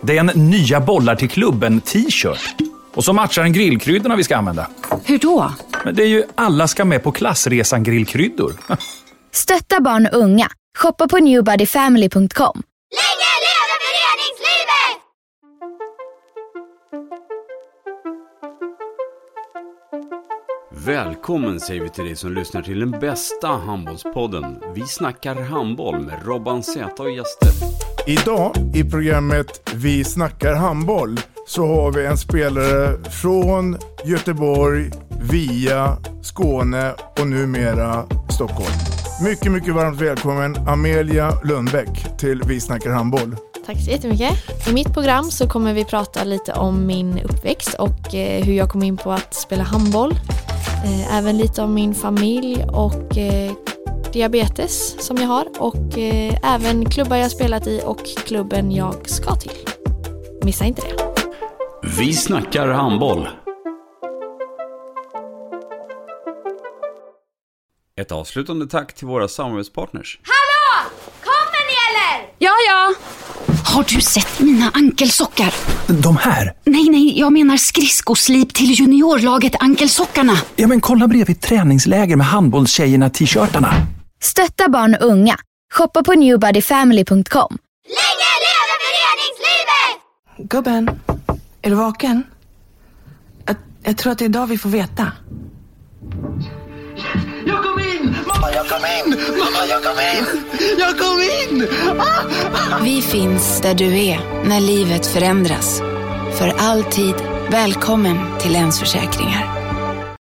Det är en nya bollar till klubben-t-shirt. Och så matchar den grillkryddorna vi ska använda. Hur då? Men det är ju alla ska med på klassresan grillkryddor. Stötta barn och unga. Shoppa på newbodyfamily.com. Länge leve föreningslivet! Välkommen säger vi till dig som lyssnar till den bästa handbollspodden. Vi snackar handboll med Robban Z och gäster. Idag i programmet Vi snackar handboll så har vi en spelare från Göteborg via Skåne och numera Stockholm. Mycket, mycket varmt välkommen Amelia Lundbäck till Vi snackar handboll. Tack så jättemycket. I mitt program så kommer vi prata lite om min uppväxt och eh, hur jag kom in på att spela handboll. Eh, Även lite om min familj och eh, diabetes som jag har och eh, även klubbar jag spelat i och klubben jag ska till. Missa inte det. Vi snackar handboll. Ett avslutande tack till våra samarbetspartners. Hallå! Kommer ni eller? Ja, ja. Har du sett mina ankelsockar? De här? Nej, nej, jag menar skridskoslip till juniorlaget Ankelsockarna. Ja, men kolla bredvid träningsläger med handbollstjejerna-t-shirtarna. Stötta barn och unga. Shoppa på newbodyfamily.com. Länge leve föreningslivet! Gubben, är du vaken? Jag, jag tror att det är idag vi får veta. Jag kom in! Mamma, jag kom in! Mamma, jag kom in! Jag kom in! Ah! Vi finns där du är när livet förändras. För alltid välkommen till Länsförsäkringar.